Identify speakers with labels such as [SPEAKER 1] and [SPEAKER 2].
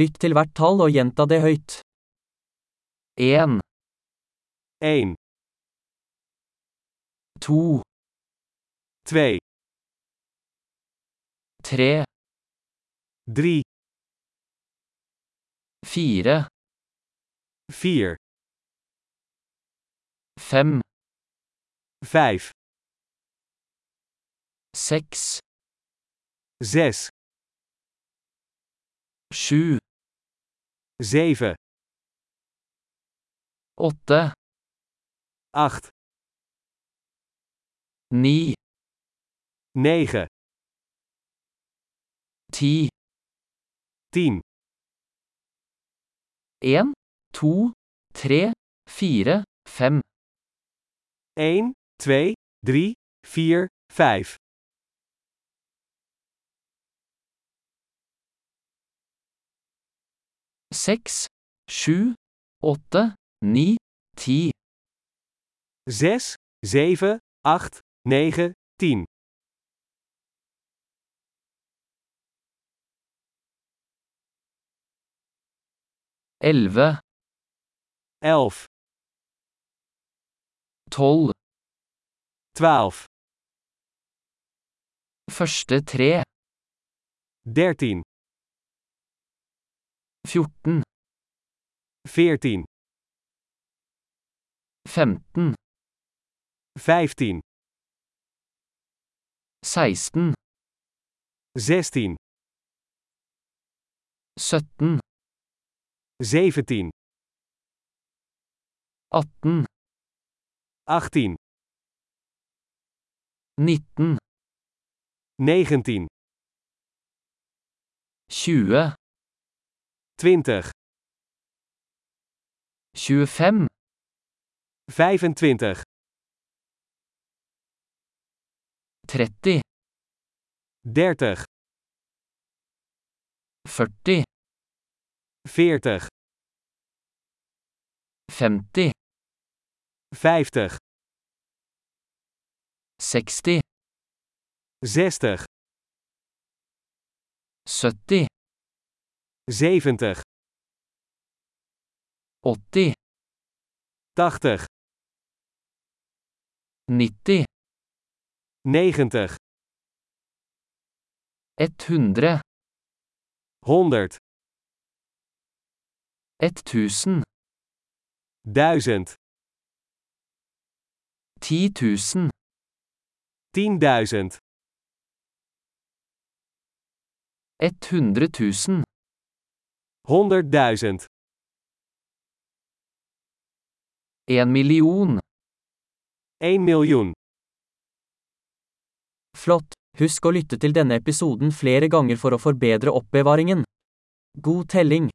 [SPEAKER 1] Lytt til hvert tall og gjenta det høyt. 1,
[SPEAKER 2] 1,
[SPEAKER 1] 2,
[SPEAKER 2] 2,
[SPEAKER 1] 3,
[SPEAKER 2] 3,
[SPEAKER 1] 4,
[SPEAKER 2] 4,
[SPEAKER 1] 5,
[SPEAKER 2] 5,
[SPEAKER 1] 6,
[SPEAKER 2] 6,
[SPEAKER 1] 7,
[SPEAKER 2] 7,
[SPEAKER 1] 8,
[SPEAKER 2] 8,
[SPEAKER 1] 9,
[SPEAKER 2] 9,
[SPEAKER 1] 10,
[SPEAKER 2] 10,
[SPEAKER 1] 1, 2, 3, 4, 5,
[SPEAKER 2] 1, 2, 3, 4, 5.
[SPEAKER 1] 6, 7, 8, 9, 10,
[SPEAKER 2] 6, 7, 8, 9, 10,
[SPEAKER 1] 11,
[SPEAKER 2] 11,
[SPEAKER 1] 12,
[SPEAKER 2] 12,
[SPEAKER 1] første 3,
[SPEAKER 2] 13,
[SPEAKER 1] 14,
[SPEAKER 2] 14,
[SPEAKER 1] 15,
[SPEAKER 2] 15,
[SPEAKER 1] 16,
[SPEAKER 2] 16,
[SPEAKER 1] 17,
[SPEAKER 2] 17,
[SPEAKER 1] 18,
[SPEAKER 2] 18,
[SPEAKER 1] 19,
[SPEAKER 2] 19,
[SPEAKER 1] 20,
[SPEAKER 2] 20,
[SPEAKER 1] 25,
[SPEAKER 2] 25,
[SPEAKER 1] 30,
[SPEAKER 2] 30,
[SPEAKER 1] 40,
[SPEAKER 2] 40,
[SPEAKER 1] 50,
[SPEAKER 2] 50,
[SPEAKER 1] 60,
[SPEAKER 2] 60,
[SPEAKER 1] 70,
[SPEAKER 2] 70,
[SPEAKER 1] 80,
[SPEAKER 2] 80,
[SPEAKER 1] 90,
[SPEAKER 2] 90,
[SPEAKER 1] 100,
[SPEAKER 2] 100,
[SPEAKER 1] 1000,
[SPEAKER 2] 1000,
[SPEAKER 1] 10 000,
[SPEAKER 2] 10.000,
[SPEAKER 1] 100 000,
[SPEAKER 2] 100.000,
[SPEAKER 1] 1 million.
[SPEAKER 2] 1 miljoen.
[SPEAKER 1] Flott! Husk å lytte til denne episoden flere ganger for å forbedre oppbevaringen. God telling!